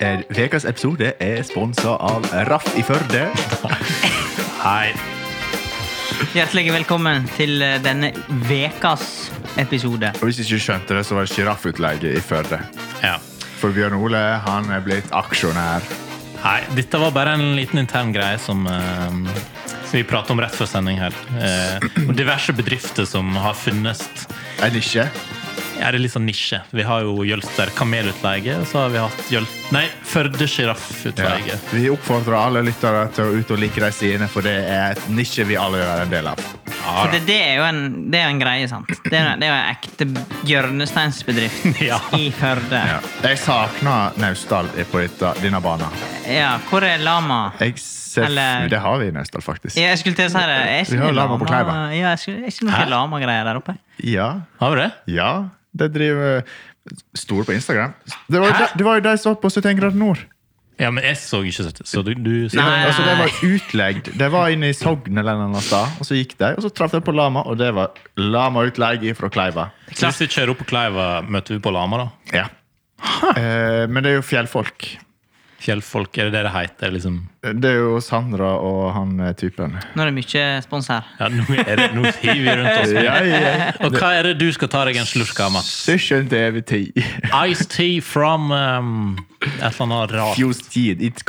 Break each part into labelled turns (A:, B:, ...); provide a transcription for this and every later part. A: her. Ukas episode er sponsa av Raff i Førde.
B: Hei.
C: Hjertelig velkommen til eh, denne vekas episode.
A: Og Hvis du ikke skjønte det, så var det sjiraffutleie i Førde.
B: Ja.
A: For Bjørn Ole han er blitt aksjonær.
B: Hei. Dette var bare en liten intern greie som, eh, som vi pratet om rett før sending her. Eh, og diverse bedrifter som har funnes.
A: En nisje.
B: Ja, det er litt sånn nisje. Vi har jo Jølster kamelutleie, og så har vi hatt Jøl... Nei, Førde sjiraffutleie.
A: Vi oppfordrer alle lyttere til å ut og like de sidene, for det er et nisje vi alle vil være en del av.
B: Ja,
C: For det, det er jo en, det er en greie, sant? Det er, det er jo en ekte hjørnesteinsbedrift
B: Ja.
C: i Førde.
A: Ja. Jeg savner Naustdal på dette, denne banen.
C: Ja, hvor er lama?
A: Jeg ser,
C: Eller-
A: Det har vi i Naustdal, faktisk.
C: Ja, Jeg skulle til å si det. Er
A: Vi
C: ikke
A: har
C: det
A: lama på Kleiva.
C: Ja, jeg skulle, er ikke noe
B: Hæ?
C: lama-greier der oppe?
A: Ja.
B: Har vi det?
A: Ja, det driver Stor på Instagram. Det var, jo
B: Hæ?
A: de, det var jo de som var på 71 grader nord.
B: Ja, men jeg så ikke dette. Så du, du
C: Nei, nei,
A: Altså, det
C: nei.
A: var utlegg. Det var inne i Sogn eller noe annet sted. Og så gikk de, og så traff de på lama, og det var lamautlegg fra Kleiva.
B: Så hvis vi kjører opp på Kleiva, møter vi på Lama, da?
A: Ja. Eh, men det er jo fjellfolk.
B: Fjellfolk, er det det det heter? Liksom?
A: Det er jo Sandra og han eh, typen.
C: Nå er det mye spons her.
B: Ja, nå, er det, nå hiver vi rundt oss.
A: Ja, ja.
B: Og hva er det du skal ta deg en slurk av, Mats?
A: Søsken til evig tid.
B: Ice tea from um, et eller annet rart.
A: Fuse tid, it's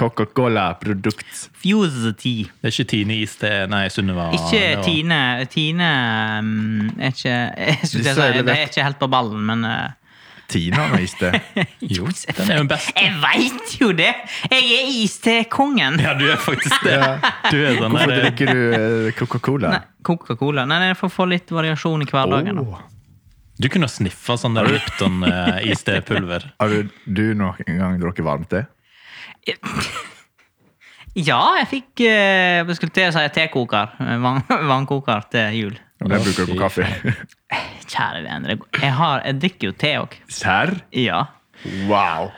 A: Coca-Cola-produkt.
C: Fuse tea.
B: Det er ikke Tine Is, det er Nei, Sunniva.
C: Ikke
B: det var-
C: Tine. Tine mm, er ikke jeg skulle til å
A: Disse er
C: si,
A: det
C: Det
A: vekk.
C: er ikke helt på ballen, men eh,
A: Tina nå, iste.
B: Jo, den er jo best.
C: Jeg veit jo det! Jeg er iste-kongen.
B: Ja, du er faktisk det.
A: Ja.
B: Du er den
A: Hvorfor
B: der,
A: drikker du eh, Coca-Cola?
C: Nei, Coca-Cola. Nei, jeg får få litt variasjon i hverdagen. da.
A: Åh.
B: du kunne sniffa sånn der eh, Lipton-iste-pulver.
A: Har du, du noen gang drukket varmt te?
C: Ja, jeg fikk eh, Jeg skulle til å si tekoker. eh, vann- Vannkoker til jul.
A: Og den bruker du på kaffe.
C: Kjære vene, det går- jeg, har, jeg drikker jo te òg.
A: Serr?
C: Ja.
A: Wow.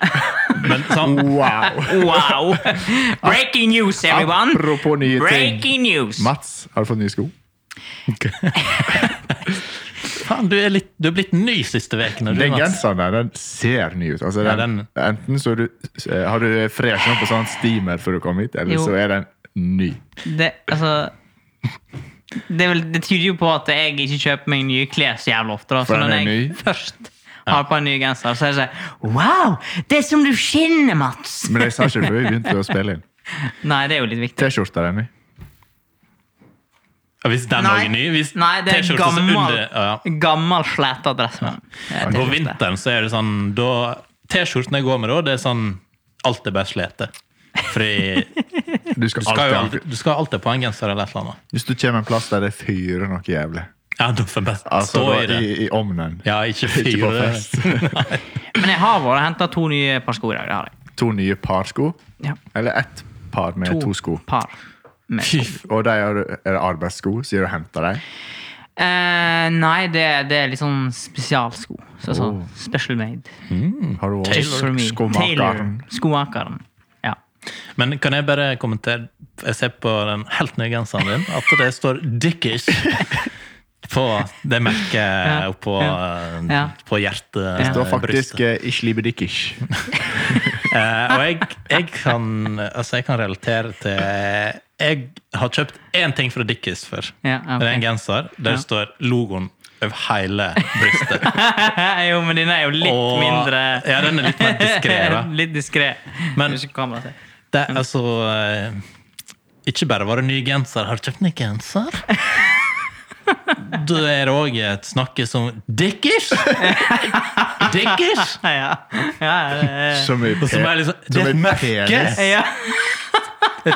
B: Men
A: Oh.
B: sånn,
A: wow.
C: Wow! Breaking news, everyone!
A: Apropos nye ting.
C: Breaking news!
A: Mats, har du fått nye sko?
B: faen, du er, litt, du er blitt ny siste vekene. du,
A: Den
B: Mats.
A: genseren der, den ser ny ut. Altså,
B: Ja,
A: den, enten så er du, eh, har du freshen opp på sånn steamer før du kom hit, eller
C: Jo.
A: så er den ny.
C: Det, altså det, er vel, det tyder jo på at jeg ikke kjøper meg nye klær så jævlig ofte. Da.
A: For
C: Så
A: den
C: når
A: er
C: jeg
A: ny.
C: først har på en ny genser, så er det sånn Wow! Det er som du skinner, Mats!
A: Men jeg sa ikke det før vi begynte å spille inn.
C: Nei, det er jo litt viktig.
A: T-skjorta er ny.
B: Ja, hvis den
C: Nei.
B: òg er ny? Hvis
C: Nei, det er
B: T-skjorta som
C: gammel,
B: under- ja.
C: gammel sleta dress. men- Ja,
B: På
C: det-
B: vinteren så er det sånn da, T-skjorten jeg går med da, det er sånn Alt er bare slete. Fordi
A: Du skal
B: du skal, jo
A: alltid
B: alltid, du skal alltid på en genser eller et eller annet.
A: Hvis du kommer en plass der det fyrer noe jævlig,
B: Ja, da får jeg best
A: altså
B: stå
A: da,
B: i det.
A: i, i ovnen
B: Ja, ikke fyre.
A: Ikke på fest.
C: Men jeg har vært og henta to nye par sko i dag. Det har jeg.
A: To nye par sko,
C: Ja.
A: eller ett par med to sko.
C: par. Med.
B: Fy,
A: Og de har, er det arbeidssko, så du henter dem?
C: Eh, nei, det, det er litt sånn spesialsko. Så, sånn Special made.
A: Har du
C: Just for
A: også
C: me.
A: skomakeren?
C: Taylor. Skomakeren. Ja.
B: Men kan jeg bare kommentere Jeg ser på den helt nye genseren din at det står 'Dickish' på det merket oppå
C: Ja.
B: på hjertet.
C: Det
A: Det var
B: eh,
A: faktisk
B: brystet.
A: eh, Ich liebe dich ich.
B: Eh, og jeg, jeg, kan, altså jeg kan relatere til Jeg har kjøpt én ting fra Dickies før.
C: Ja, ok.
B: Det er en genser der
C: Ja.
B: står logoen over hele brystet.
C: jo, men den er jo litt
B: Og-
C: mindre
B: Ja, den er litt mer diskré.
C: Litt diskré.
B: Men-
C: Ikke kamera til.
B: Det, er altså, eh, ikke bare var det ny genser, har du kjøpt ny genser? Da er det òg et snakke som Dickers! Dickers!
C: Ja, ja, det-
A: Som i P.
B: Eh, Som er liksom Det
A: Som
B: er et
A: en
B: merke!
A: penis.
C: ja.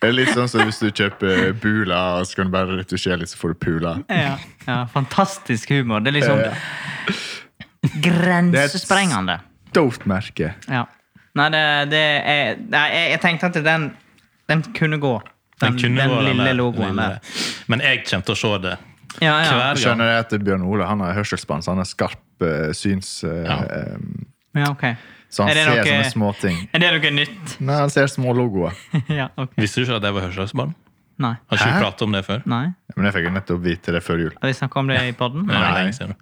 A: Det er litt sånn som hvis du kjøper Bula, så kan du bare retusjere litt, så får du Pula.
C: Ja, ja, fantastisk humor. Det er liksom grensesprengende.
A: Dope merke.
C: Ja. Nei, det, det er Nei, jeg, jeg tenkte at den, den kunne gå.
B: Den
C: Den, den,
B: kunne vært den
C: lille
B: der-
C: logoen
B: lille.
C: der.
B: Men jeg kommer til å se det
C: Ja, ja.
B: hver gang.
A: Skjønner jeg at Bjørn Ole han har hørselsbans, han har skarp eh, syns... eh,
B: Ja.
A: eh,
C: ja ok.
A: så han
C: Er det
A: ser
C: noe-
A: sånne små ting.
C: Er det noe nytt?
A: Nei, han ser små logoer.
C: ja, ok.
B: Visste du ikke at jeg var hørselsbarn?
C: Nei.
B: Har ikke
A: Hæ?
B: vi pratet om det før?
C: Nei.
A: Men jeg fikk jo nettopp vite det før jul.
C: Har vi snakka om det i poden?
B: Nei,
A: Nei.
B: lenge siden.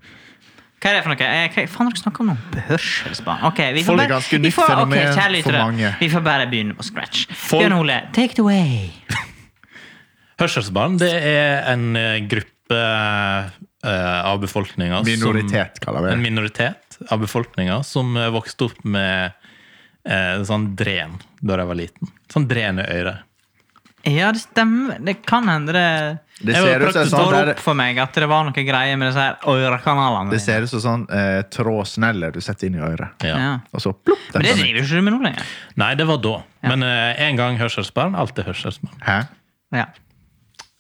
C: Hva er det for noe? Eh, Hva faen har dere snakket om noe? Behørselsbarn. Ok, vi
A: Folk
C: får
A: er
C: bare,
A: ganske
C: vi
A: nytt
C: får, ok,
A: fenomen
C: kjære
A: for
C: lyttere,
A: mange.
C: Vi får bare begynne på scratch.
B: Folk-
C: Bjørn Ole, take it away.
B: Hørselsbarn det er en eh, gruppe eh, av befolkninga
A: Minoritet, kaller vi det.
B: En minoritet av befolkninga som eh, vokste opp med eh, sånn dren da de var liten. Sånn dren i øret.
C: Ja, det stemmer. Det kan hende det
A: Det
B: Jeg
A: ser
B: var
A: ut som
B: praktisk
A: sånn
C: står
A: der,
C: opp for meg at det var noe greier med disse her ørekanalene.
A: det ser ut som sånn eh, trådsneller du setter inn i øret.
B: Ja.
C: Ja.
A: Og så plopp! den
C: Men det
A: kommer inn.
C: driver ikke du med nå lenger.
B: Nei, det var da. Men eh, en gang hørselsbarn, alltid hørselsbarn.
A: Hæ?
C: Ja.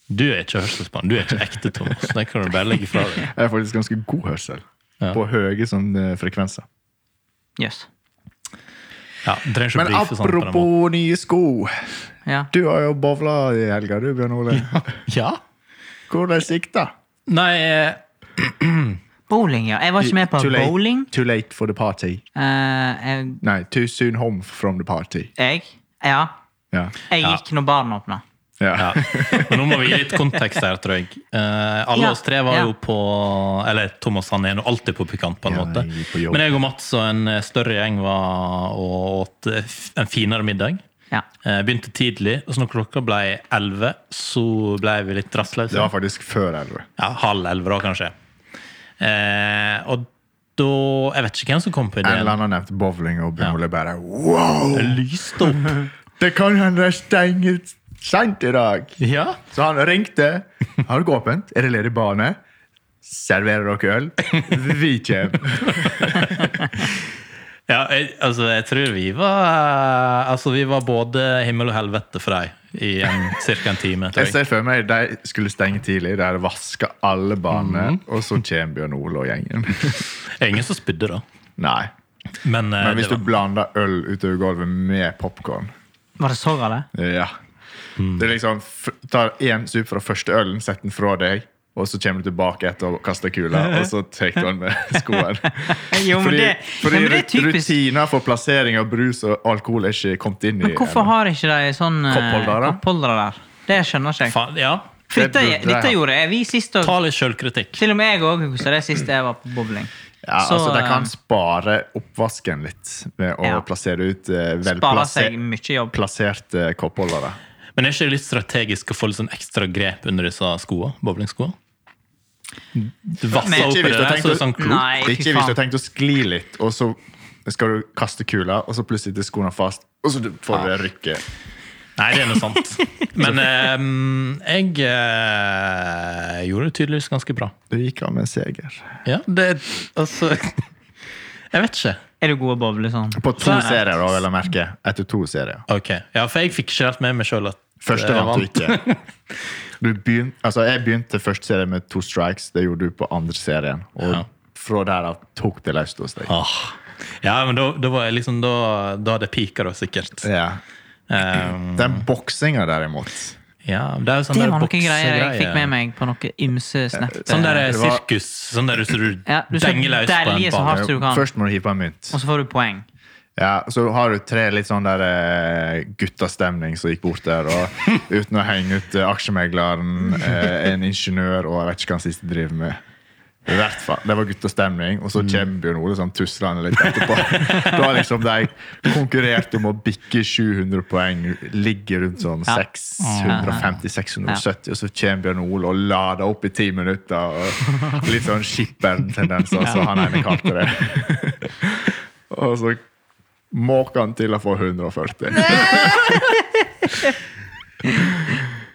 B: Du er ikke hørselsbarn. Du er ikke ekte Thomas. Det kan du bare legge fra deg.
A: Jeg har faktisk ganske god hørsel.
B: Ja.
A: På høye sånn, eh, frekvenser.
C: Jøss.
B: Ja, du trenger ikke
A: Men
B: brife sånn på den måten.
A: apropos nye sko.
C: Ja.
A: Du har jo bowla i helga, du, Bjørn Ole.
B: Ja.
A: Hvordan gikk det?
B: Nei, eh,
C: Bowling, ja. Jeg var ikke med på
A: Too late-
C: bowling.
A: Too late for the party.
C: Eh, jeg,
A: Nei, too soon home from the party.
C: jeg? Ja.
A: Ja.
C: Jeg
B: Ja.
C: gikk når baren åpna.
A: Ja.
B: Ja. Men nå må vi gi litt kontekst her, tror jeg. Eh, alle
C: Ja,
B: oss tre var
C: ja.
B: jo på Eller Thomas han er nå alltid på pikant, på en
A: Ja,
B: måte.
A: jeg gikk på jobb.
B: Men jeg og Mats og en eh, større gjeng var og åt eh, f- en finere middag.
C: Ja.
B: Eh, begynte tidlig, og så når klokka ble elleve, så ble vi litt
A: Det
B: rastløse.
A: var faktisk før elleve.
B: Ja, halv elleve, da, kanskje. Eh, og da Jeg vet ikke hvem som kom på
A: En eller
B: ideen.
A: annen nevnte bowling, og Bjørn Ole bare wow!
B: Lyste opp.
A: Det kan hende det stenger sent i dag.
B: Ja.
A: Så han ringte. Har dere åpent? Er det ledig bane? Serverer dere øl? Vi kommer.
B: Ja, jeg, altså, jeg tror vi var Altså, vi var både himmel og helvete for deg i en, cirka en time.
A: Jeg
B: tror jeg.
A: ser for meg de skulle stenge tidlig. De hadde vaska alle banene,
C: Mhm.
A: og så kommer Bjørn Ole og gjengen.
B: Det er ingen som spydde, da.
A: Nei.
B: Men, eh,
A: Men hvis
B: det
A: du
B: var,
A: blander øl utover gulvet med popkorn
C: Var det så galt?
A: Ja.
C: Mhm.
A: Det er liksom f Tar én sup fra første ølen, setter den fra deg, og så kommer du tilbake etter å kaste kula, og så tar du den med skoen.
C: Jo, men
A: fordi
C: det,
A: fordi
C: ja, men det er
A: rut-
C: typisk.
A: rutiner for plassering av brus og alkohol er ikke kommet inn i
C: Men hvorfor har ikke de sånn eh,
A: Koppholdere?
C: koppholdere der? Det skjønner ikke jeg.
B: faen, ja,
C: For dette,
A: Det burde jeg
C: dette
A: ha.
C: gjorde jeg. Vi sist og,
B: ta litt sjølkritikk.
C: Til og med jeg òg husker det siste jeg var på bowling.
A: ja,
C: Så,
A: altså, De
C: eh,
A: kan spare oppvasken litt ved å
C: Ja.
A: plassere ut eh,
C: Sparer seg
A: velplasserte
C: mye jobb.
A: plasserte koppholdere.
B: Men er ikke det litt strategisk å få litt sånn ekstra grep under disse skoene? Bowlingskoa? Du vasser
C: Men-
B: opp i
A: Ikke hvis
B: det
A: du har
B: der,
A: tenkt
B: så
A: å-
B: det er sånn klok.
C: Nei, fy
A: Ikke hvis du har
C: faen.
A: tenkt å skli litt, og så skal du kaste kula, og så plutselig sitter skoene fast, og så får du det rykket.
B: Nei, det er noe sant. Men eh, jeg eh, gjorde det tydeligvis ganske bra.
A: Du gikk av med en seger.
B: Ja, det Altså Jeg vet ikke.
C: Er du god å bowle sånn?
A: På to
B: Så-
A: serier, da, vil jeg merke. Etter to serier.
B: Ok, ja, for jeg fikk ikke helt med meg sjøl at
A: Første
B: jeg
A: vant du ikke. Du begyn, altså jeg begynte første serie med to strikes. Det gjorde du på andre serien. Og
B: Ja.
A: fra der av tok det løst hos deg.
B: Ah. Ja, men da, da var jeg liksom Da, da hadde jeg pika, da, sikkert.
A: Ja.
B: Um,
A: Den boksinga, derimot
B: ja, det er jo sånn
C: Det
B: der
C: var noen greier
B: boksegreier.
C: jeg fikk med meg på noe ymse
A: Eh,
C: snap. eh,
B: Sånn der
A: Det var-
B: sirkus. Sånn der som du
C: Ja, du skal
B: denger løs på
C: delje
B: en
C: så
B: bane.
C: hardt. du kan.
A: Først må du hive på en mynt.
C: Og så får du poeng.
A: Ja, så har du tre litt sånn der eh, guttastemning som gikk bort der. Og uten å henge ut eh, aksjemegleren, eh, en ingeniør og jeg vet ikke hva han siste driver med. I hvert fall, Det var guttastemning, og så kommer Bjørn Ole sånn tuslende litt etterpå. Da har liksom de konkurrert om å bikke 700 poeng, ligger rundt sånn
C: Ja.
A: 650-670, og så kommer Bjørn Ole og lader opp i ti minutter. og Litt sånn skipperen-tendenser, som han ene kalte det. Og så måker han til å få 140.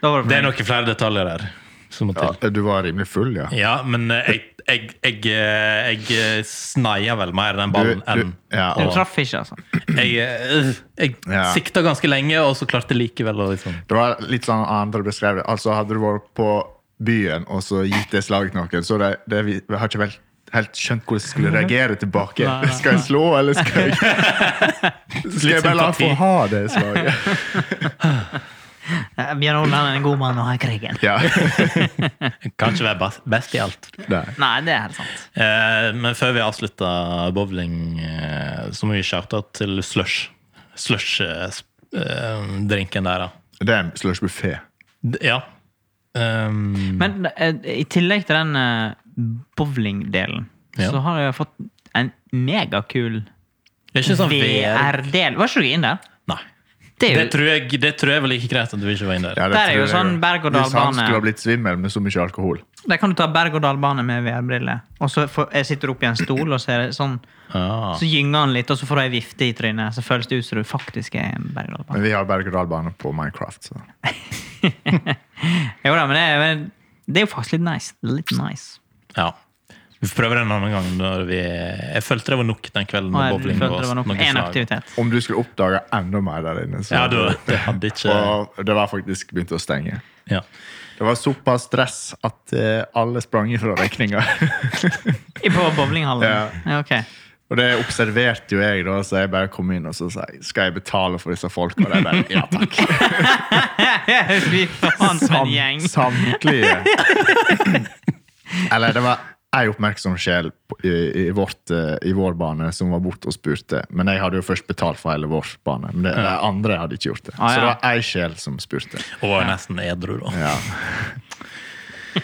C: Da var det
B: Det er
C: poeng.
B: noen flere detaljer der som må
A: Ja,
B: til.
A: du var rimelig full, ja.
B: Ja, men eh, jeg, jeg, jeg, eh, jeg eh, sneier vel mer den
A: Du,
B: ballen
A: du,
B: enn
A: ja,
C: Du
A: og
C: traff ikke, altså.
B: Jeg, eh, jeg
A: Ja.
B: sikta ganske lenge, og så klarte jeg likevel å liksom
A: det var litt sånn andre beskrev det. Altså, hadde du vært på byen og så gitt det slaget til noen, så det, det, vi vi har ikke vel, helt skjønt hvordan jeg skulle reagere tilbake.
C: Nei, nei, nei.
A: Skal jeg slå, eller skal jeg Skal jeg bare la han få
B: sympati.
A: ha det slaget?
C: Eh, Bjørn Ole han er en god mann å ha i krigen.
A: Ja.
B: Kan ikke være best, best i alt.
A: Nei.
C: Nei, det er helt sant.
B: Eh, men før vi avslutter bowling, eh, så må vi shoute til slush. Slush-drinken der, da.
A: Det er en slushbuffé.
B: D ja. Ehm, Um,
C: Men eh, i tillegg til den eh, bowlingdelen,
B: Ja.
C: så har jeg fått en megakul
B: Det er ikke sånn VR.
C: VR-del. Var ikke du inne der?
B: Nei.
C: Det er
B: Det
C: jo,
B: tror jeg, det tror jeg vel ikke greit at du ikke var inne der.
A: Ja, det
C: Der er jo
A: tror jeg
C: sånn berg- og
A: Hvis han
C: dalbane.
A: skulle ha blitt svimmel med så mye alkohol.
C: der kan du ta berg-og-dal-bane med VR-briller. Og så får, jeg sitter opp i en stol, og så, er det sånn,
B: Ah.
C: så gynger han litt, og så får du ei vifte i trynet. Så føles det ut som du faktisk er i en berg-og-dal-bane.
A: Men vi har berg-og-dal-bane på Minecraft. Så.
C: Jo da, men det, er- men det er jo faktisk litt nice. Litt nice.
B: Ja. Vi får prøve det en annen gang. Når vi, jeg følte det var nok den kvelden.
C: Og
B: med
C: jeg
B: bowling og
C: følte det var nok
B: noe
C: én
B: slag.
C: aktivitet.
A: Om du skulle oppdage enda mer der inne. Så.
B: Ja, du, det hadde ikke
A: Og det var faktisk begynt å stenge.
B: ja.
A: Det var såpass stress at eh, alle sprang ifra regninga.
C: På bowlinghallen?
A: Ja.
C: Ja, ok.
A: og det observerte jo jeg, da, så jeg bare kom inn og så sa jeg, skal jeg betale for disse folka. Og de bare ja takk.
C: Fy faen, for en gjeng.
A: samtlige. Eller det var ei oppmerksom sjel på- i, i, vårt, eh, i vår bane som var borte og spurte. Men jeg hadde jo først betalt for hele vår bane. Men det, de andre hadde ikke gjort det.
C: Ah,
A: Så det
C: ja.
A: var ei sjel som spurte.
B: Og var jo nesten edru, da.
A: Ja.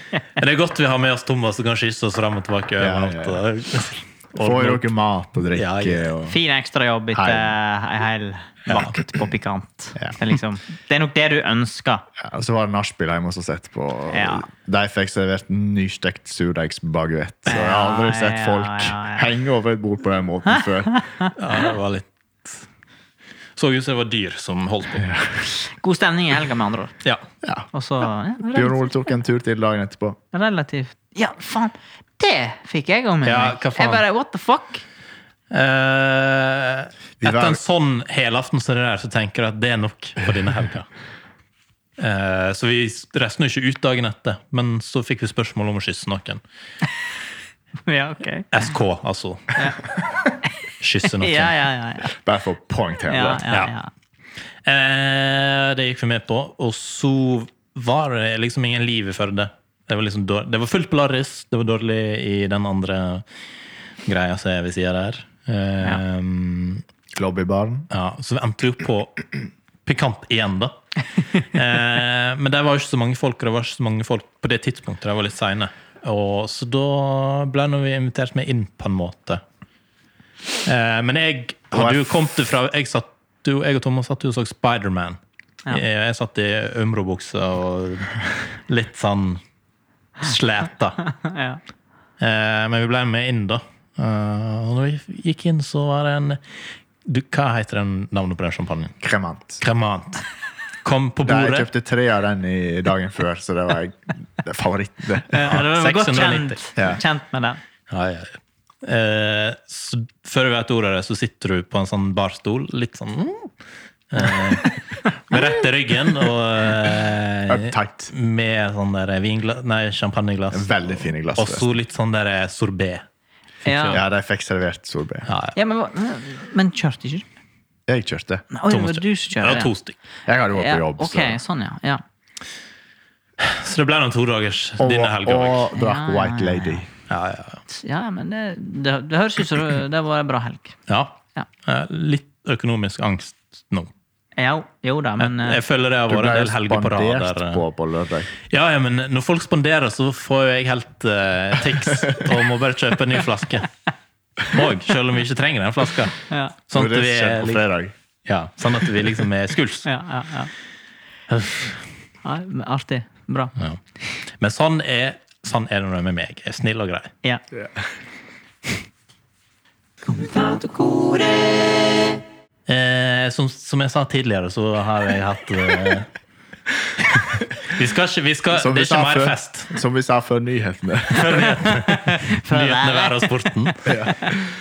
B: Men det er godt vi har med oss Thomas som kan skysse oss fram og tilbake.
A: Ja,
B: over
A: ja,
B: natta.
A: Får dere mat og drikke
B: Ja, ja.
A: og
C: Fin ekstrajobb etter eh, ei hel vakt på Pikant.
A: Ja.
C: Det, er liksom, det er nok det du ønsker.
A: ja, og så var det nachspiel hjemme hos oss etterpå. og
C: Ja.
A: De fikk servert nystekt surdeigsbaguett. Så jeg har
C: Ja,
A: aldri sett
C: ja,
A: folk
C: ja, ja.
A: henge over et bord på den måten før.
B: Ja, det var litt Så ut som det var dyr som holdt på.
C: God stemning i helga, med andre ord.
B: Ja.
A: Ja.
C: Og så ja,
A: Bjørn
C: relativt,
A: Ole tok en tur til dagen etterpå.
C: relativt Ja, faen! Det fikk jeg om meg.
B: Ja, hva faen?
C: Jeg bare what the fuck?
B: Eh,
A: Vi
B: etter
A: var-
B: en sånn helaften som det der, så tenker jeg at det er nok for denne helga. Eh, så vi resten er ikke ut dagen etter, men så fikk vi spørsmål om å kysse noen.
C: Ja, ok.
B: SK, altså. Kysse noen.
C: Ja, ja, ja. ja.
A: Bare for poengtere
C: ja,
A: det.
C: ja, ja.
B: Eh, det gikk vi med på. Og så var det liksom ingen liv i Førde. Det var, liksom dår- det var fullt på Larris. Det var dårlig i den andre greia som er ved sida der. Eh,
A: Lobbybaren.
B: ja. så vi endte jo opp på pikant igjen, da. Eh, men der var jo ikke så mange folk, og det var ikke så mange folk på det tidspunktet. De var litt seine. Og Så da ble nå vi invitert med inn, på en måte. Eh, men jeg hadde jo kommet det fra Jeg, satt, jo, jeg og Thomas satt jo og så Spiderman.
C: Ja.
B: Jeg, jeg satt i Ømro-buksa og litt sånn sleta.
C: Ja.
B: Eh, men vi ble med inn, da. Eh, og når vi gikk inn, så var det en du, Hva heter den navnet på den champagnen?
A: Kremant.
B: Cremant. Kom på
A: Jeg
B: bordet.
A: kjøpte tre av den i dagen før, så det var det er favoritten. det.
C: Ja, det var godt
B: 690.
C: kjent,
A: Ja.
C: kjent med den.
B: Ja, ja, ja. Eh, så før du vet ordet av det, så sitter du på en sånn barstol, litt sånn mm, eh, Med rett i ryggen og eh,
A: Uptight.
B: med sånn der vingla- nei, champagneglass.
A: Veldig fine glass.
B: Og så litt sånn der sorbet.
C: Ja.
A: Ja, de fikk servert sorbet.
B: Ja, ja.
C: Ja, men, hva- men kjørte ikke du?
A: Jeg kjørte.
C: Nei, Oi, det
B: Thomas
C: var du som
B: Det var
C: kjørte?
B: to stykk.
A: Jeg hadde vært
C: Ja,
A: på jobb.
C: ok, sånn, ja. ja.
B: Så det ble noen todagers
A: Så. Og,
B: denne helga òg.
A: og drakk White Lady.
B: Ja, ja.
C: Ja, men det, det, det høres ut som det det var en bra helg.
B: ja.
C: Ja.
B: Eh, Litt økonomisk angst nå.
C: Jo, jo da, men eh,
B: Jeg føler det har
A: Du
B: vært
A: ble
B: en
A: jo
B: del helger på rad.
A: spandert
B: der, eh,
A: på på lørdag.
B: Ja, ja, men når folk spanderer, så får jo jeg helt uh, tics og må bare kjøpe en ny flaske. Og, selv om vi ikke trenger den flaska.
C: eh, ja,
B: Sånn
A: Og
B: at
A: det
B: vi,
A: skjedde
B: er,
A: på
B: lik-
A: fredag.
B: ja, sånn at vi liksom er skuls.
C: ja, ja, ja. ja men Artig. Bra.
B: Ja. Men sånn er, sånn er det når det er med meg. Jeg er snill og grei.
C: Ja.
B: Eh, som, som jeg sa tidligere, så har jeg hatt eh, Vi skal ikke, vi skal,
A: Som vi
B: Det er ikke
A: sa
B: mer
A: før.
B: fest.
A: Som vi sa før nyhetene.
B: Nyhetene, været og sporten.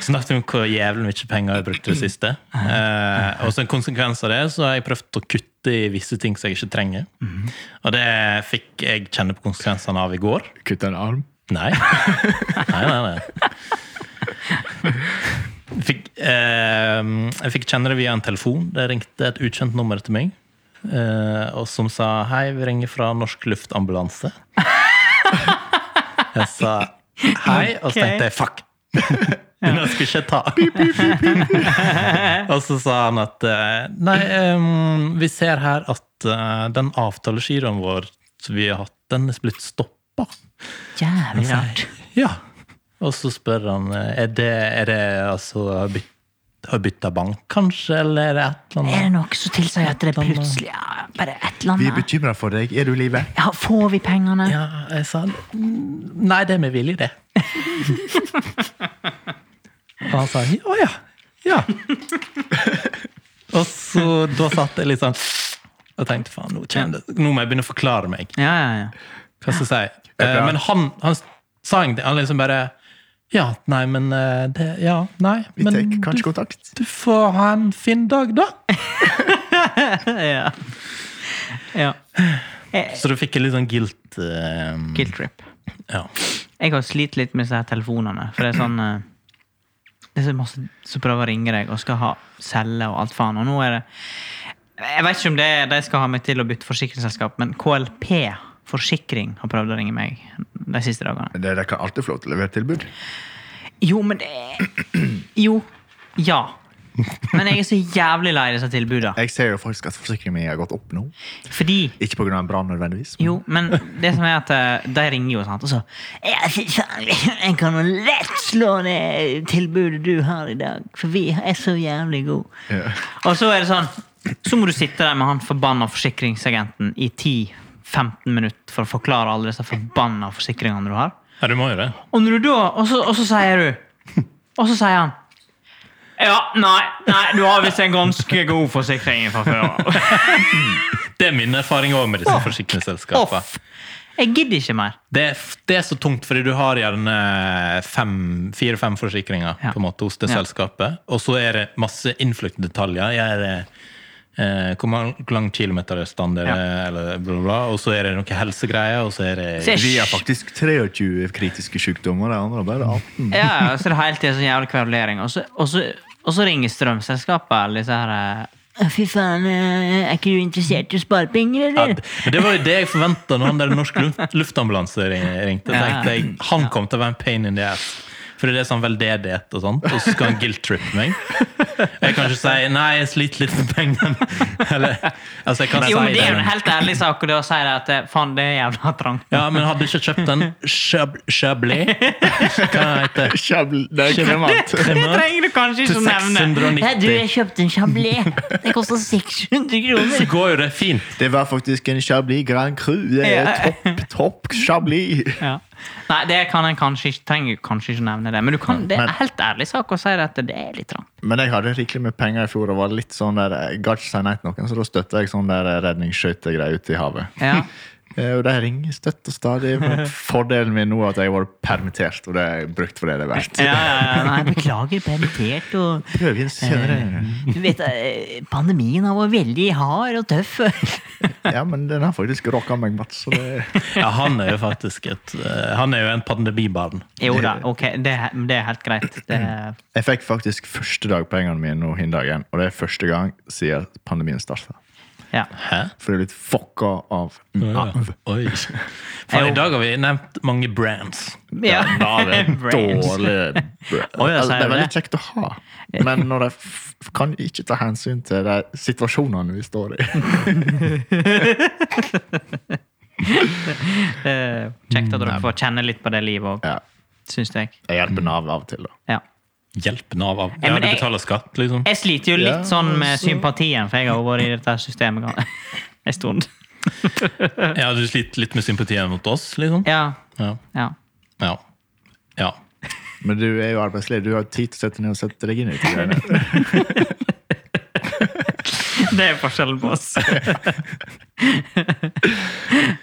B: Snakket om hvor jævlig mye penger jeg brukte det siste. Eh, og som en konsekvens av det så har jeg prøvd å kutte i visse ting som jeg ikke trenger. Og det fikk jeg kjenne på konsekvensene av i går.
A: Kutte en arm.
B: Nei. Nei, nei, nei. Fikk, eh, jeg fikk kjenne det via en telefon. Det ringte et ukjent nummer til meg. eh, og som sa 'Hei, vi ringer fra Norsk Luftambulanse'. Jeg sa hei, og så tenkte jeg 'fuck'. Men jeg skulle ikke ta. og så sa han at eh, Nei, em, vi ser her at eh, den avtalegiroen vår som vi har hatt, den er blitt stoppa.
C: Jævlig rart.
B: Ja. Og så spør han eh, er det, er det altså har bytt- har bytta bank, kanskje, eller er det et eller
C: Er det
B: annet?
C: noe som tilsier at det
B: annet.
C: plutselig ja, bare et eller
A: Vi er
C: annet?
A: bekymra for deg. Er du i live?
C: Ja, får vi pengene?
B: Ja, jeg sa "Mm, Nei, det er med vilje, det. Og han sa å ja. Ja. Og så da satt jeg litt sånn og tenkte faen, nå, kjenner jeg det. nå må jeg begynne å forklare meg.
C: Ja, ja, ja.
B: Hva skal jeg si? Eh,
A: Ja.
B: men han, han sa ingenting. Han liksom bare Ja, nei, men eh, det, Ja, nei.
A: Vi
B: men
A: tar
B: du,
A: kanskje kontakt.
B: du får ha en fin dag, da.
C: ja. ja.
B: Så du fikk en litt sånn guilt eh,
C: Guilt trip.
B: Ja.
C: Jeg har slitt litt med disse her telefonene. For det er sånn eh, Det er så masse som prøver å ringe deg og skal ha celle og alt faen. Og nå er det Jeg vet ikke om det er de skal ha meg til å bytte forsikringsselskap, men KLP Forsikring har prøvd å ringe meg de siste dagene.
A: Det, det kan alltid få lov til å levere tilbud.
C: Jo, men det Jo. Ja. Men jeg er så jævlig lei disse tilbudene.
A: Jeg ser jo faktisk at forsikringen min har gått opp nå.
C: Fordi
A: Ikke pga. en brann nødvendigvis. men-
C: Jo, men det som er at eh, de ringer jo, sant, og så Ja, fy faen, jeg kan jo lett slå det tilbudet du har i dag, for vi er så jævlig gode.
A: Ja.
C: Og så er det sånn Så må du sitte der med han forbanna forsikringsagenten i 10-15 minutter for å forklare alle disse forbanna forsikringene du har.
B: ja, du må jo det.
C: Og når du da Og så, og så sier du Og så sier han Ja, nei, nei, du har visst en ganske god forsikring fra før av.
B: Det er min erfaring òg med disse forsikringsselskapene.
C: Off! Jeg gidder ikke mer.
B: Det, er f- det er så tungt, fordi du har gjerne fem- fire-fem forsikringer
C: Ja.
B: på en måte, hos det
C: Ja.
B: selskapet, og så er det masse innfløkte detaljer. Jeg er, eh, hvor mang- hvor lang kilometer er standard, eh, eller bla, bla, bla, og så er det noe helsegreier, og så er det
C: Så jeg-
A: Vi har faktisk 23 kritiske sykdommer. De andre har bare 18.
C: Ja, ja, så er det hele tiden sånn jævlig kverulering. Og så, og så, og så ringer strømselskapet eller disse her eh, Fy faen, eh, er ikke du interessert i å spare penger,
B: Ja,
C: eller?
B: det- men det var jo det jeg forventa når han der norske lu- luftambulanse ring- ringte.
C: Ja.
B: tenkte jeg, Han kom til å være en pain in the ass. Fordi det er sånn veldedighet og sånt. Og så skal han guilt-trippe meg. Jeg kan ikke si 'nei, jeg sliter litt med pengene'. Eller, altså jeg kan
C: Jo, men
B: si
C: det er
B: det.
C: jo en
B: men-
C: helt ærlig sak og det å si det at eh, faen, det er jævla trangt.
B: Ja, men hadde du ikke kjøpt en chab- chablis Hva heter det?
A: Kjabl- det er kremant.
C: Det trenger du kanskje
B: Til
C: ikke å nevne.
B: 690.
C: Ja, du, jeg kjøpte en chablé. Det koster 600
B: Så
C: kroner.
B: går jo det fint.
A: Det var faktisk en Chablis Grand Cru. Det er
C: Ja.
A: topp, topp Chablis.
C: Ja. Nei, det kan en kanskje ikke, trenger jeg kanskje ikke å nevne det. Men du kan, det er
A: Men-
C: en helt ærlig sak å si det at det er litt trangt.
A: Men jeg hadde rikelig med penger i fjor og var litt sånn der, jeg gadd ikke si nei til noen, så da støtta jeg sånn der redningsskøytegreier ute i havet.
C: Ja.
A: Eh, Og de ringer støtt og stadig. Men fordelen min nå er at jeg har vært permittert, og det er brukt for det det er verdt.
C: Ja, ja, ja. Nei, beklager, permittert og
A: Prøv igjen senere.
C: Du vet, eh, pandemien har vært veldig hard og tøff.
A: Ja, men den har faktisk rocka meg, Mats. Så det,
B: Ja, han er jo faktisk et eh, Han er jo en pandemibarn.
C: Jo da, ok, det, er- det er helt greit. Det, er-
A: jeg fikk faktisk første dagpengene mine nå hin dagen, og det er første gang siden pandemien starta.
C: ja.
B: Hæ?
A: For jeg er blitt fucka av
C: Mm.
A: Nav.
B: Oi. Faen, I dag har vi nevnt mange brands.
C: ja.
A: Da er det
C: Brains.
A: dårlig
C: Å, ja,
A: altså,
C: sier
A: Det er
C: du
A: veldig
C: det?
A: kjekt å ha, men når jeg f kan ikke ta hensyn til de situasjonene vi står i.
C: Eh, Kjekt at
A: Mm.
C: dere får kjenne litt på det livet òg,
A: Ja,
C: syns jeg.
A: jeg hjelper Nav av og til, da.
C: Ja.
B: Hjelp Nav av.
C: Ja,
B: Ja,
C: men
B: du
C: jeg-
B: betaler skatt, liksom.
C: Jeg sliter jo
A: Ja,
C: litt sånn med
A: altså.
C: sympatien, for jeg har jo vært i dette systemet ga- en stund.
B: Ja, du sliter litt med sympatien mot oss, liksom.
C: Ja,
B: Ja.
C: ja.
B: Ja. ja.
A: Men du er jo arbeidsledig. Du har tid til å sette ned og sette deg inn i disse greiene.
C: Det er forskjellen på oss.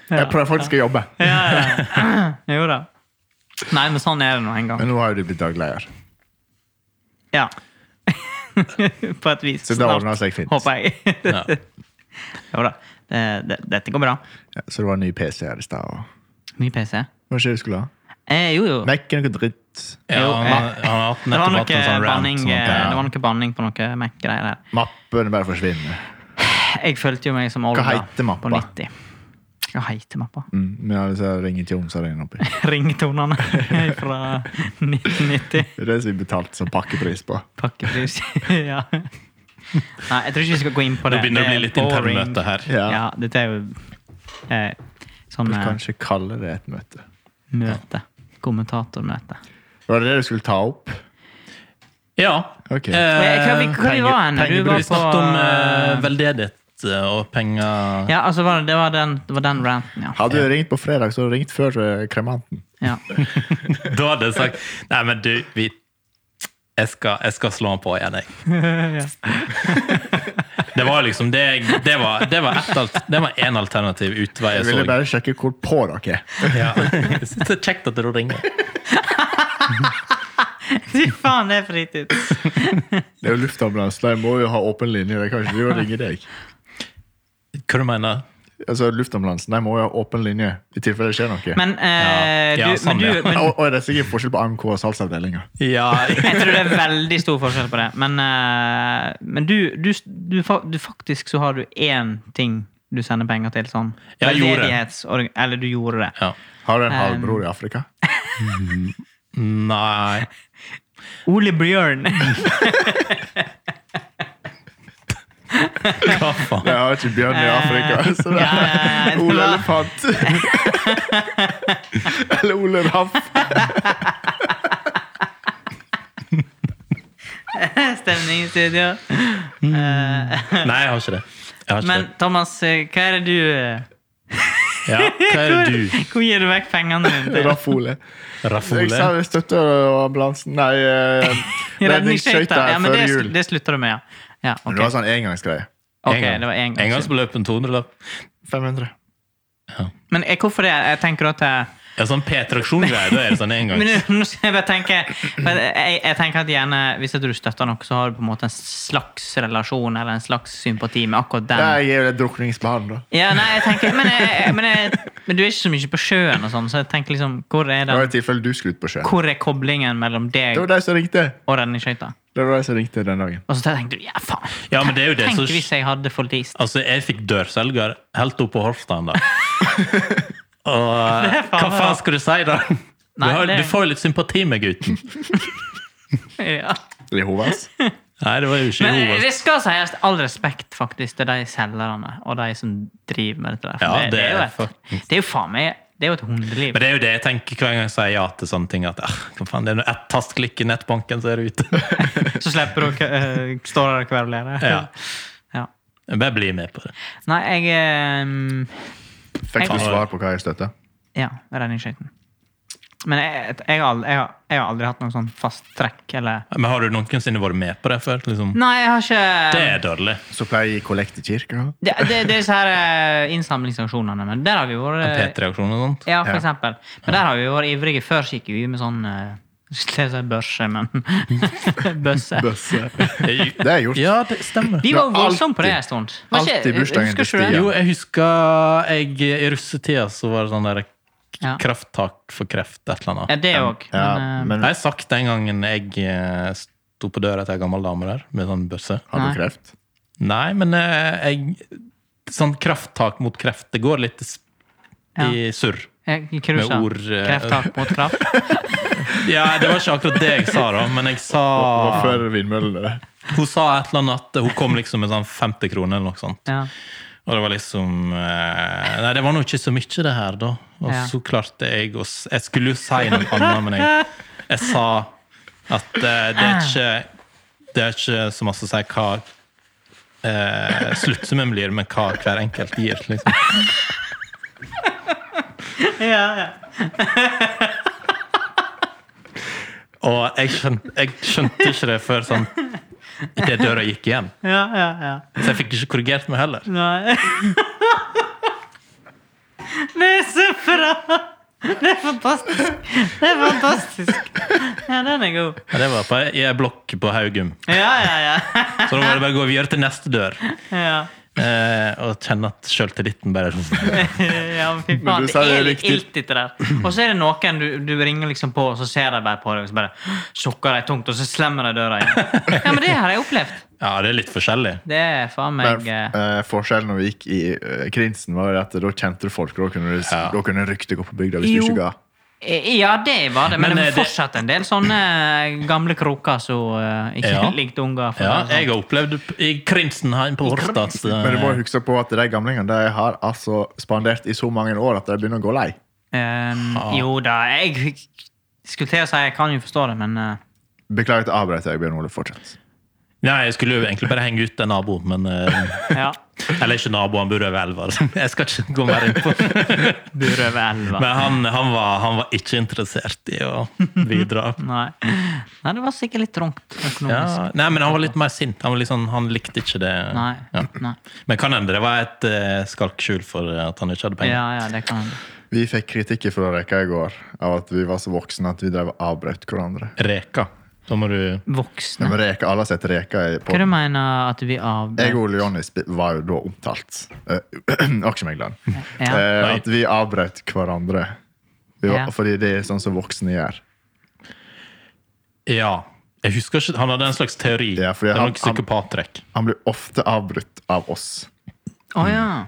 A: Jeg prøver faktisk å jobbe.
C: Jo da. Nei, men sånn er det nå en gang.
A: Men nå har jo du blitt dagleder.
C: Ja. På et vis.
A: Så det
C: Snart,
A: ordner seg fint.
C: håper jeg.
B: ja.
C: Jo da. Det, det, dette går bra.
A: Ja, så det var en ny PC her i stad. og-
C: Mye PC.
A: Hva skjer du skulle ha?
C: Eh, jo, jo.
A: Mac er noe dritt.
B: ja
C: Jo,
B: han,
C: jeg-
B: han har hatt
C: Det var
B: nettopp
C: noe
B: hatt en sånn rant.
C: banning,
B: sånn at-
A: ja.
C: eh, det var noe banning på noe Mac-greier her.
A: Mappene bare forsvinner.
C: Jeg følte jo meg som Olga
A: heter mappa?
C: på 90. Hva heter mappa?
A: Mm, men alle disse ringetonene er oppi. Det
C: Ringtonene fra 1990.
A: er det som vi betalte som pakkepris på.
C: Pakkepris. ja. Nei, jeg tror ikke vi skal gå inn
B: Nå
C: på det.
B: begynner det å bli litt
C: boring.
B: internmøte her.
A: Ja.
C: Ja, dette er jo eh, sånn
A: Vi
C: eh,
A: kan ikke kalle det et møte.
C: møte. Kommentatormøte.
A: Var det det du skulle ta opp?
B: Ja.
A: Ok.
C: Hva- hva- hva var han? Du
B: pengebruk.
C: var
B: Vi snakket
C: på,
B: om eh,
C: eh,
B: veldedighet eh, og penger.
C: Ja, altså var det, det, var den, det var den ranten, ja.
A: Hadde du ringt på fredag, så hadde du ringt før eh, kremanten.
C: ja.
B: Da hadde jeg sagt Nei, men du, vi jeg skal, jeg skal slå han på igjen, jeg. Det var liksom det jeg Det var, det var, ett alt- det var en alternativ utvei
A: Jeg
B: jeg
A: ville
B: så.
A: bare sjekke hvor på dere er.
B: Ja. Jeg synes det er kjekt at du ringer.
C: Fy faen, det er fritid!
A: Det er jo luftambulanse. De må jo ha åpen linje. De kan ikke drive og ringe deg.
B: Hva du mener
A: Altså, Luftambulansen de må jo ha åpen linje i tilfelle det skjer noe.
C: Men, eh,
B: Ja. Ja,
C: du,
B: sånn,
C: men,
B: ja.
C: du, men
A: og, og det er sikkert forskjell på AMK og salgsavdelinga.
B: Ja,
C: Jeg tror det er veldig stor forskjell på det. Men, eh, men du, du, du, fa- du faktisk så har du én ting du sender penger til. sånn.
B: Jeg gjorde det.
C: Veldedighetsorgan- Eller du gjorde det.
B: ja.
A: Har du en halvbror i Afrika?
B: Nei
C: Ole Bjørn.
B: Hva faen?
A: Jeg har ikke bjørn i
C: Eh,
A: Afrika. Så det
C: ja, ja, ja,
A: er
C: det
A: Ole
C: var-
A: Elefant. Eller Ole Raff.
C: Stemning i studio.
B: Nei, jeg har ikke det. Jeg har ikke
C: Men Thomas, eh, hva er det du eh,
B: det. Ja, hva er det du,
C: Hvor gir du vekk pengene dine til?
A: Raff Ole. Jeg
B: Rafole?
A: sa jeg støtter ambulansen. Nei, eh, redningsskøyta
C: Redningsskøyter. Ja, men
A: før
C: det,
A: jul.
C: sl- det slutter du med, ja. ja
A: Men Det var
C: ok.
A: sånn engangsgreie.
C: Ok, det var en gang.
B: Engangsbeløp en 200-lapp.
A: 500.
C: Men eh, hvorfor det? Jeg tenker at eh,
B: Ja, sånn P-traksjon-greie. Da er det sånn
C: Men
B: engangs.
C: nå- nå skal jeg bare tenke for jeg, jeg tenker at gjerne Hvis at du støtter noe, så har du på en måte en slags relasjon eller en slags sympati med akkurat den.
A: Jeg gir jo det drukningsbarn, da.
C: Ja, nei, jeg tenker, men, jeg, men, jeg, men du er ikke så mye på sjøen, og sånn, så jeg tenker liksom Hvor er,
A: Det var i
C: den,
A: tilfelle du skulle ut på sjøen.
C: hvor er koblingen mellom deg
A: Det var de som ringte.
C: og redningsskøyta?
A: Det var de som ringte den dagen.
C: Og så tenkte du ja, faen.
B: Ja, men det er jo det
C: Tenk
B: som-
C: hvis jeg hadde forlist.
B: Altså, jeg fikk dørselger helt opp på hofta en dag. Og
C: Det er faen
B: hva
C: bra.
B: faen skal du si, da? Du,
C: Nei,
B: har,
C: det-
B: du får jo litt sympati med gutten.
C: Ja.
A: Jehovas.
B: Nei, det var jo ikke altså.
C: Men
B: Jehovas.
C: det skal sies all respekt faktisk til de selgerne og de som driver med dette. der. For
B: Ja, det
C: er jo
B: er
C: et- det er jo faen meg Det er jo et hundeliv.
B: Men det er jo det jeg tenker hver gang jeg sier ja til sånne ting. At ah, hva faen, det er nå ett tastklikk i nettbanken, så er du ute.
C: Så slipper du å uh, stå der og kverulere.
B: Ja.
C: Ja.
B: Jeg bare bli med på det.
C: Nei, jeg ehm,
A: Fikk du svar på hva jeg støtta?
C: Ja, redningsskøyten. Men jeg, jeg, har aldri, jeg, har, jeg har aldri hatt noe sånn fast trekk eller
B: Men har du noensinne vært med på det før? Liksom?
C: Nei, jeg har ikke
B: Det er dårlig.
A: Så pleier jeg å gi kollekt i kirka.
C: Det, det, det er disse her eh, innsamlingsaksjonene, men der har vi vært
B: P3-aksjon og sånt.
C: Ja, for
A: Ja.
C: eksempel. Men der har vi vært ivrige. Før så gikk vi med sånn eh, jeg skulle til å si børse, men Bøsse.
A: Bøsse.
B: Jeg-
A: Det har jeg gjort.
B: Ja, det stemmer.
C: Vi
A: Det
C: var
A: var
C: voldsomme på det
A: alltid-
C: en stund. Var ikke-
A: alltid bursdagen
C: husker
A: til
C: ikke du det?
B: Jo, jeg husker jeg, i russetida så var det sånn der
C: Ja.
B: krafttak for kreft, et eller annet.
C: Ja, det òg.
A: Ja,
C: men, eh,
A: men
B: Jeg har sagt den gangen jeg eh, sto på døra til ei gammel dame der med sånn bøsse.
A: har
C: Nei.
A: du kreft?
B: Nei, men eh, jeg Sånn krafttak mot kreft, det går litt i s- i surr.
C: eh, Krusa.
B: Med ord, eh,
C: Krefttak mot kraft.
B: Ja, det var ikke akkurat det jeg sa, da, men jeg sa
A: Og før vindmøllene.
B: Hun sa et eller annet at hun kom liksom med sånn 50 kroner eller noe sånt.
C: Ja.
B: Og det var liksom eh, Nei, det var nå ikke så mye, det her, da. Og
C: Ja.
B: så klarte jeg å s- Jeg skulle jo si noe annet, men jeg, jeg sa at eh, det er ikke Det er ikke så masse å si hva eh, sluttsummen blir, men hva hver enkelt gir. liksom.
C: ja, ja.
B: Og jeg skjønte, jeg skjønte ikke det før sånn idet døra gikk igjen.
C: ja, ja, ja.
B: Så jeg fikk ikke korrigert meg heller.
C: Nei. Det er så bra! Det er fantastisk. Det er fantastisk. Ja, den er god.
B: Ja, Det var på ei ei blokk på Haugum.
C: Ja, ja, ja.
B: Så da var det bare å gå videre til neste dør
C: Ja,
B: eh, og kjenne at sjøltilliten bare er sånn
C: ja men fy
A: Men
C: faen.
A: du sa
C: Det
A: det
C: er litt
A: riktig.
C: ilt, dette der. Og så er det noen du, du ringer liksom på, og så ser de bare på deg, og så bare sukker de tungt, og så slemmer de døra igjen. Ja, men det har jeg opplevd.
B: Ja, det er litt forskjellig.
C: Det er faen
A: Men
C: meg eh,
A: eh, forskjellen når vi gikk i eh, Krinsen, var jo at da kjente du folk. og Da kunne, du,
B: Ja.
A: da kunne ryktet gå på bygda hvis
C: Jo. Eh,
A: du ikke ga.
C: Ja, det var det, men,
B: Men
C: det
B: er
C: var
B: det-
C: fortsatt en del sånne eh, gamle kroker som eh, ikke
B: Ja.
C: likte unger. for
B: Ja,
C: å si det
B: jeg har opplevd i Krinsen her på Horstad
A: Men du må
B: eh,
A: huske på at de gamlingene de har altså spandert i så mange år at de begynner å gå lei.
C: sånn. Eh, jo da, jeg Skulle til å si jeg kan jo forstå det, men eh,
A: Beklager at jeg avbrøt deg, Bjørn Ole. Fortsett.
B: Nei, jeg skulle jo egentlig bare henge ut en nabo, men eh,
C: ja.
B: Eller ikke nabo, han bor over elva. altså. Jeg skal ikke gå mer inn på det.
C: Bur over elva.
B: Men han, han, var, han var ikke interessert i å bidra.
C: Nei. Nei, det var sikkert litt trångt økonomisk.
B: Ja, nei, men han var litt mer sint. Han, var litt sånn, han likte ikke det.
C: Nei.
B: Ja.
C: Nei.
B: Men kan hende det var et eh, skalkskjul for at han ikke hadde penger.
C: Ja, ja, det kan
A: Vi fikk kritikk fra rekka i går av at vi var så voksne at vi drev og avbrøt hverandre.
B: Reka. Da må du
A: Ja,
C: Voksne.
A: men reka, Alle har sett reka i
C: Hva
A: på.
C: du mener at vi
A: Jeg
C: avbrøt?
A: og Ole Jonny sp- var jo da omtalt. eh, aksjemegleren.
C: Ja.
A: Eh,
B: Nei.
A: at vi avbrøt hverandre. Vi var,
C: Ja.
A: Fordi det er sånn som voksne gjør.
B: Ja. Jeg husker ikke, Han hadde en slags teori.
A: Ja, fordi
B: det var
A: han-
B: noe psykopattrekk.
A: Han blir ofte avbrutt av oss.
C: Å ja.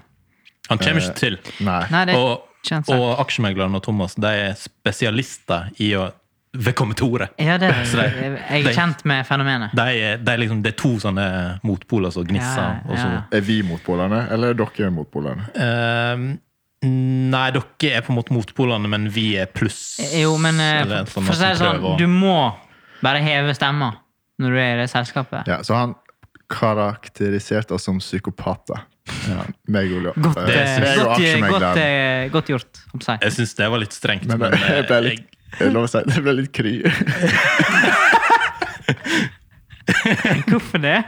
B: Han kommer
A: Eh,
B: ikke til.
A: Nei.
C: Nei, det
B: Og,
C: kjennes
B: og aksjemegleren og Thomas de er spesialister i å velkomme til ordet.
C: Ja, det,
B: Så det-
C: jeg jeg er
B: det-
C: kjent med fenomenet.
B: De, er- de er liksom, det er to sånne motpoler som gnisser.
C: Ja,
B: og så-
C: ja.
A: Er vi motpolene, eller er dere motpolene?
B: Ehm, nei, dere er på en måte motpolene, men vi er pluss.
C: Jo, men eh,
B: eller
C: for,
B: sånn
C: for å si det
B: som
C: sånn,
B: prøver å-
C: du må bare heve stemma når du er i det selskapet.
A: Ja, så han karakteriserte oss som psykopater. Meg og Ole.
C: Godt,
A: eh,
B: Det
C: eh,
B: synes
A: meg og
C: godt, eh, godt,
A: aksjemegleren.
C: eh, godt gjort. om seg.
B: Jeg syns det var litt strengt.
A: Men
B: Men,
A: det,
B: eh,
A: jeg ble litt, jeg lov å si, det ble litt kry.
C: Hvorfor det?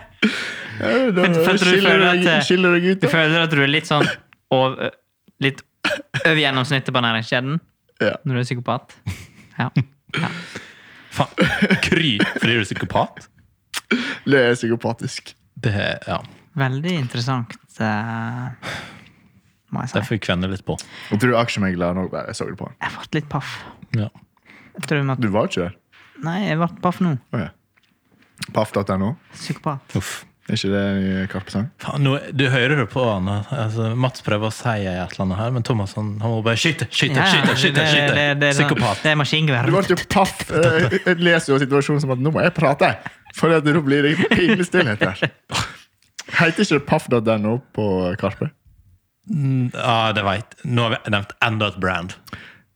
A: Da
C: for du
A: Skiller
C: føler
A: du
C: at, eh,
A: deg- skiller du deg ut?
C: Du
A: da?
C: føler at du er litt sånn over, litt over gjennomsnittet på næringskjeden
A: Ja.
C: når du er psykopat? Ja. ja.
B: faen, kry fordi du er psykopat?
A: Det er psykopatisk.
B: Det, ja,
C: Veldig interessant, eh, må jeg
B: det
C: si.
B: får vi kvenne litt på.
A: Jeg tror aksjemegleren òg bare jeg så det på han.
C: Jeg ble litt paff.
B: Ja.
C: Jeg tror vi måtte-
A: Du var ikke der?
C: Nei, jeg ble paff nå.
A: Oh, ja. Paff.no?
C: Psykopat.
B: Uff.
A: Er ikke det en ny Karpe-sang?
B: Faen, nå, du hører det på han. Altså, Mats prøver å si et eller annet her, men Thomas han, han må bare skyte, skyte,
C: Ja, ja,
B: skyte. skyte,
C: det-
B: skyte.
C: det- det- det-
B: Psykopat.
C: Det er maskingevær.
A: Du ble jo paff. Eh, Jeg leser jo situasjonen som at nå må jeg prate, for at nå blir det pinlig stillhet her. Heter ikke det paff.no på Karpe?
B: Ja, det vet. Nå har vi nevnt enda et brand.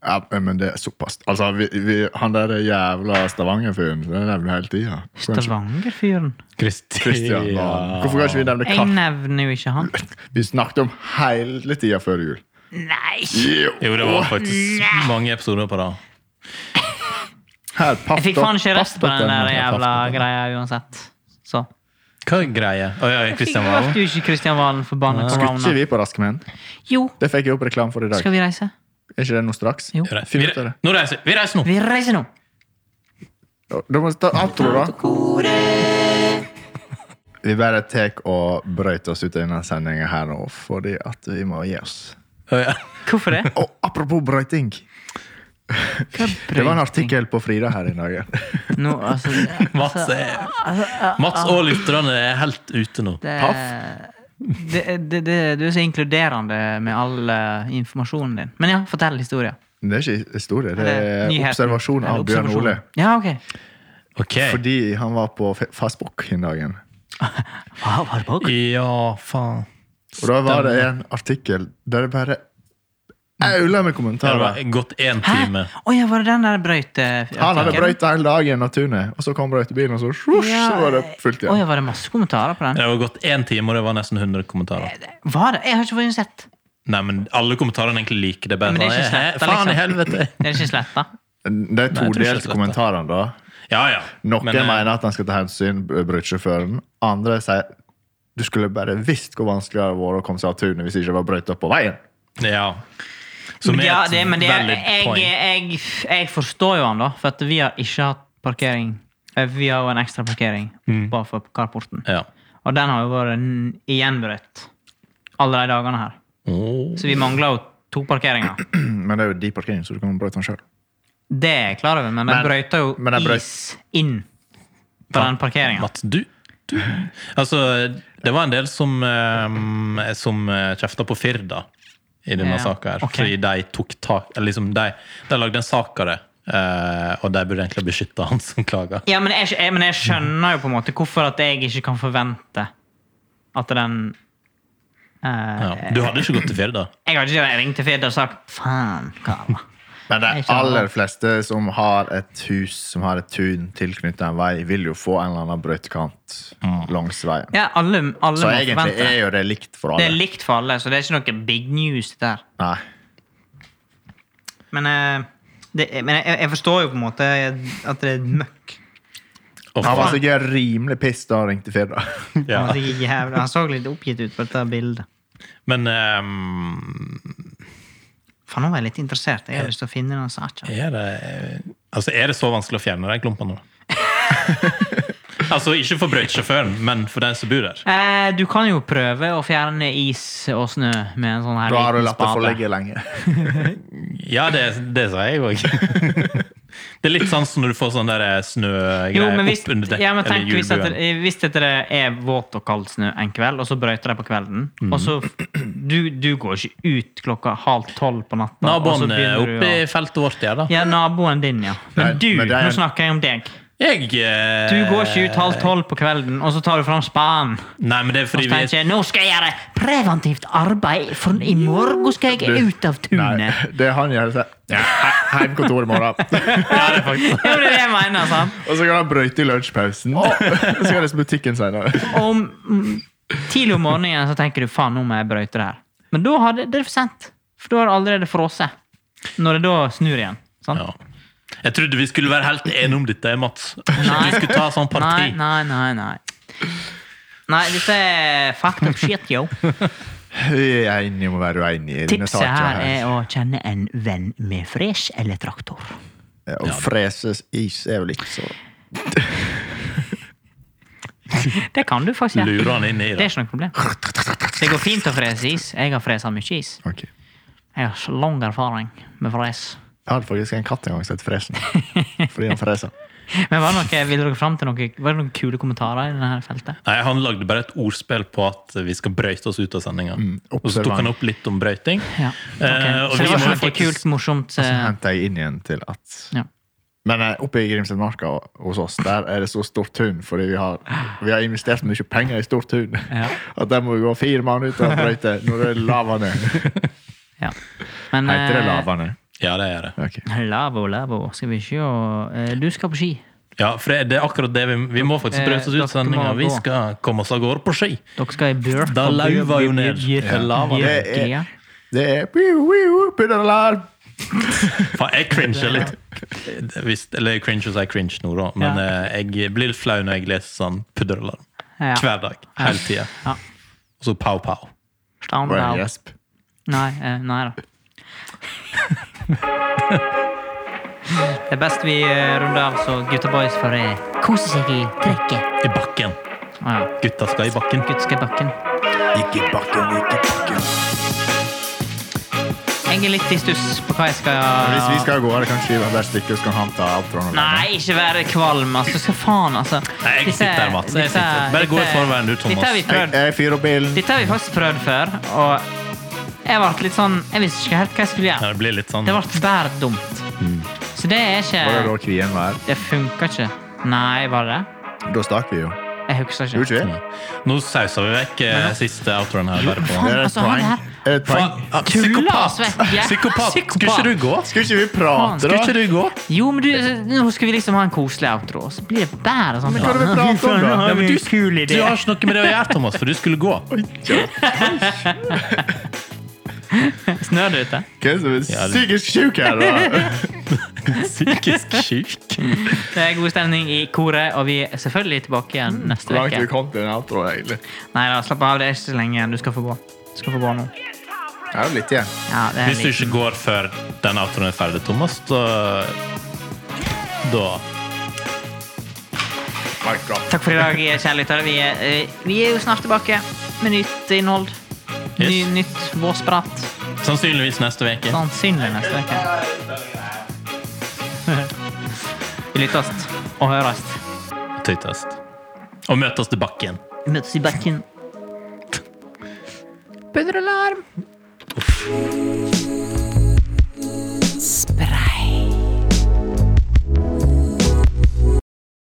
A: Ja, men det er såpass. Altså, vi, vi, han der jævla Stavanger-fyren, det nevner vi hele tida.
C: Stavanger-fyren.
A: Christian. Valen. Hvorfor kan ikke vi nevne
C: Jeg
A: Karpe?
C: nevner jo ikke han.
A: Vi snakket om hele tida før jul.
C: Nei!
A: Jo,
B: Jo, det var faktisk mange episoder på det.
A: Her, paff.
C: Jeg fikk faen ikke rest på den der jævla
A: paff.no.
C: greia uansett. Så.
B: Hva er greia? Å ja, Christian
C: Fikk
B: Valen.
C: ble jo ikke Kristian Valen forbanna
A: Skulle ikke
C: korona.
A: vi på Raske menn?
C: Jo,
A: Det fikk jeg opp reklame for i dag.
C: skal vi reise?
A: Er ikke det nå straks?
C: Jo.
A: Finn ut av det.
B: Vi- Nå reiser vi. Vi reiser nå.
C: Vi reiser nå!
A: Da må vi ta outro, da. Vi bare tar og brøyter oss ut av denne sendinga her nå, fordi at vi må gi oss.
B: Å, ja.
C: Hvorfor det?
A: Og apropos brøyting. Det var en artikkel på Frida her i dag.
C: Nå, altså, ah,
B: Mats, er, Mats og lytterne er helt ute nå.
C: det, det, det, det, Du er så inkluderende med all eh, informasjonen din. Men ja, fortell historien.
A: Det er ikke historie, det
C: Eller
A: er
C: nyheten.
A: observasjon
C: Eller
A: av Bjørn
C: observasjon.
A: Ole.
C: Ja, ok.
B: Ok.
A: Fordi han var på Fe- Facebook den dagen.
C: Hva var det bak?
B: Ja, faen.
A: Og da var det en artikkel der det bare aula med
B: Det var
A: kommentarer.
B: gått én
C: Hæ?
B: time.
C: Å ja, var det den der brøyte...
A: Han hadde brøyta hele dagen av tunet, og så kom brøytebilen, og så, svosj, så var det fullt
C: Å
A: igjen.
C: ja, var det masse kommentarer på den?
B: Det var gått én time, og det var nesten 100 kommentarer.
C: Var det? Jeg har ikke fått sett.
B: Nei, men Alle kommentarene er egentlig like. Det er bare
C: Men det er
B: sånn,
C: ikke
B: «Hæ?
C: slett, da,
B: Faen i
C: liksom.»
B: helvete!
C: Det er ikke sletta.
A: Det er
B: Nei, jeg tror ikke det er
A: todelt
B: slett, da.
A: kommentarene, da.
B: Ja, ja.
A: Noen
B: Men, eh,
A: mener at han skal ta hensyn eh, brøytesjåføren. Andre sier du skulle bare visst hvor vanskelig det hadde vært å komme seg av tunet hvis det ikke var brøyta på veien.
B: eh, Ja. Som er
C: ja,
B: et
C: det, men det, er-
B: valid
C: jeg,
B: point.
C: jeg, jeg forstår jo han, da. For at vi har ikke hatt parkering. Eh, Vi har jo en ekstra parkering
B: Mm.
C: bare for carporten.
B: Ja.
C: Og den har jo vært n- igjenbrøt alle de dagene her.
B: Åh.
C: Så vi mangler jo to parkeringer.
A: Men det er jo de parkering, så du kan brøyte den sjøl.
C: Det er jeg klar over, men de
A: Men-
C: brøyta jo
A: men de brøyt-
C: is inn på den parkeringa.
B: Mats, du, du Altså, det var en del som, eh, som eh, kjefta på Firda i denne
C: Ja,
B: saka her.
C: ok.
B: Fordi de tok tak eller liksom de, de lagde en sak av det, eh, og de burde egentlig beskytta han som klager.
C: Ja, men jeg, skj- jeg, men jeg skjønner jo på en måte hvorfor at jeg ikke kan forvente at den eh,
B: Ja. Du hadde ikke gått til Firda?
C: Jeg hadde ikke ringt til Fidde og sagt 'faen, Kara'.
A: Men de
C: Jeg skjønner.
A: aller fleste som har et hus som har et tun tilknyttet en vei, vil jo få en eller annen brøytekant langs veien.
C: Mm. Ja, alle, alle
A: Så
C: må
A: egentlig
C: forvente.
A: er jo det likt for
C: Det er
A: alle.
C: likt for alle, så det er ikke noe big news det der.
A: Nei.
C: Men, eh, det, men jeg, jeg forstår jo på en måte at det er møkk.
B: Å,
A: Han var
B: faen.
A: sikkert rimelig piss da han ringte Firda.
B: Ja.
C: Han, var sikkert jævlig- han så litt oppgitt ut på dette bildet.
B: Men ehm,
C: Faen, nå var jeg litt interessert. Jeg har lyst til å finne den saken.
B: er, det, altså, er det så vanskelig å fjerne de klumpene? nå? altså, ikke for brøytesjåføren, men for den som bor der.
C: Eh, du kan jo prøve å fjerne is og snø med en sånn her
A: Da har du
C: liten
A: latt det få
C: spade.
A: ligge lenge.
B: Ja, det, det sa jeg òg. det er litt sånn som når du får sånn der
C: Jo,
B: snøgreier
C: men hvis,
B: opp under dekk.
C: ja, men tenk,
B: eller
C: hvis, at
B: hjulbuen.
C: det, hvis at det er våt og kald snø en kveld, og så brøyter de på kvelden og så, du, du går ikke ut klokka halv tolv på natta. og så
B: Naboen er
C: begynner du
B: oppe
C: å-
B: i feltet vårt, ja da.
C: Ja, naboen din, ja.
A: Nei,
C: Men du,
A: men det er-
C: nå snakker jeg om deg.
B: Jeg eh,
C: Du går ikke ut halv tolv på kvelden, og så tar du fram spaden.
B: Nei, men det er
C: Og
B: fordi
C: så
B: vi
C: tenker jeg, nå skal jeg gjøre preventivt arbeid, for i morgen skal jeg
A: Du-
C: ut av
A: Nei,
C: tunet.
A: det er han gjør. så- Ja, he- Heimkontor i morgen.
C: Ja, men det er det jeg mener, sant?
A: Og så kan han brøyte i lunsjpausen. Og så kan han til butikken senere.
C: Og om mm, tidlig om morgenen så tenker du faen, nå må jeg brøyte det her. Men da har det, det er for sent. For da har det allerede frosset. Når det da snur igjen. Sant?
B: ja. Jeg trodde vi skulle være helt enige om dette, Mats.
C: Nei.
B: Vi skulle ta sånn
C: Nei,
B: parti.
C: nei, nei. nei. Nei, dette er fucked up shit, yo.
A: Vi er enige om å være uenige i denne
C: Tipset her
A: saken.
C: er å kjenne en venn med fresh eller traktor.
A: Ja, Å frese is er vel ikke så
C: Det kan du faktisk gjøre.
B: Lurer han inn i
C: Det
B: det.
C: er ikke noe problem. Det går fint å frese is. Jeg har fresa mye is.
A: Ok.
C: Jeg har så lang erfaring med fres.
A: Jeg hadde faktisk en katt en gang som het Fresen. Fordi han freser.
C: Men var det noe, ville dere fram til noe, var det noen kule kommentarer i dette feltet?
B: Nei, Han lagde bare et ordspill på at vi skal brøyte oss ut av sendinga. og så
A: observant.
B: tok han opp litt om brøyting.
C: Ja.
B: Eh,
C: ok.
B: og
C: Så
B: vi
C: det
B: må
C: var ikke
B: jo
C: noe
B: faktisk- Altså,
C: kult, morsomt
A: Så
C: eh,
A: hentet jeg inn igjen til at
C: ja.
A: Men eh, oppe i Grimstedmarka hos oss der er det så stort tun, fordi vi har, vi har investert mye penger i stort tun.
C: Ja.
A: At der må vi gå fire mann ut og brøyte når det er lava ned.
C: ja. Men
A: Heter det
C: eh,
A: lava ned?
B: Ja, det er det.
A: Ok.
C: Lavo, lavo. Skal vi se eh, Du skal på ski.
B: Ja, for det er akkurat det vi, vi må faktisk brøyte oss ut
C: Eh,
B: av sendinga.
C: dere må
B: Vi
C: gå.
B: skal komme oss av gårde på ski.
C: Dere skal i Bjørk.
B: Da
C: og Bjørk-
B: lauva jo ned.
C: Bjørk-
B: Ja, lava.
A: Det
C: Bjørk-
A: er-
C: ja.
A: Det er wiu, wiu, put an alarm.
B: Faen, jeg cringer litt. Hvis, eller jeg cringer så jeg cringer nå, da. Men eh, jeg blir litt flau når jeg leser sånn pudderalarm.
C: Ja.
B: Hver dag. Hele tida.
C: Ja.
B: Og så
A: Var
B: pow-pow.
A: det
C: Standard.
A: en gjesp?
C: Nei, eh, nei da. Det er best vi eh, runder av, så gutta boys får eh, kose seg i trekket.
B: I bakken.
C: Å ja.
B: Gutta skal i bakken.
C: Gutt skal i bakken.
A: Ikke i bakken, ikke i bakken.
C: Jeg er litt i stuss på hva jeg skal
A: Hvis vi skal gå, er det kanskje vi bare stikker og så kan han ta outroen. alene.
C: Nei, ikke være kvalm, altså. Skal faen, altså.
B: Nei, jeg
C: Dette-
B: sitter her, Mats. Jeg
C: dette-
B: sitter. Bare gå i
C: dette-
B: forveien, du, Thomas.
C: Dette har vi
A: Jeg,
C: prøvd.
A: jeg fyrer opp bilen.
C: Dette har vi faktisk prøvd før, og jeg ble litt sånn Jeg visste ikke helt hva jeg skulle
B: Ja,
C: gjøre.
B: det blir litt sånn
C: Det ble bare dumt. Så det er
A: Mm. Var det da
C: ikke
A: krien var?
C: Det funka ikke. Nei, var det?
A: Da stakk vi jo.
C: Jeg husker
A: Gjorde
C: ikke.
A: ikke vi?
B: Nå sauser vi vekk eh, siste outroen her. bare på.
A: Er
C: faen.
A: det et
C: Altså, han
A: poeng?
C: her-
A: Er det et poeng?
B: Ah,
C: Tulla oss vekk, ja.
B: Psykopat! Skulle
C: Psykopat.
B: ikke du gå?
A: Skulle ikke vi prate, da?
B: Skulle ikke du gå?
C: Jo, men du, nå skal vi liksom ha en koselig outro, og så blir det bare sånn.
A: hva er det vi prater om, da?
C: Nå har
B: Ja,
C: vi
B: men
C: en kul
B: du, du
C: idé.
B: har ikke noe med det å gjøre, Thomas, for du skulle gå.
C: Snør det ute?
A: Hvem som
B: Ja,
A: er
B: det-
A: psykisk sjuk her, da?
B: Psykisk syk.
C: Det er god stemning i koret, og vi er selvfølgelig tilbake igjen
A: Hvor
C: neste
A: langt vi
C: uke.
A: kom til den outroen, egentlig?
C: Nei da, slapp av, det er ikke så lenge igjen. Du skal få gå. Du skal få gå nå.
A: Det er jo litt igjen.
C: Ja, det er
B: Hvis du
C: litt.
B: ikke går før den outroen er ferdig, Thomas, da Da
A: Mic drop.
C: Takk for i dag, kjære lyttere. Vi, er, eh, vi er jo snart tilbake med nytt innhold. Ny,
B: Yes.
C: nytt vårsprat.
B: Sannsynligvis neste
C: Sånn.
B: uke.
C: Sannsynlig neste uke. Vi lyttes og høres.
B: Tøytest. Og møtes til bakken.
C: Vi møtes i bakken. Bedre alarm!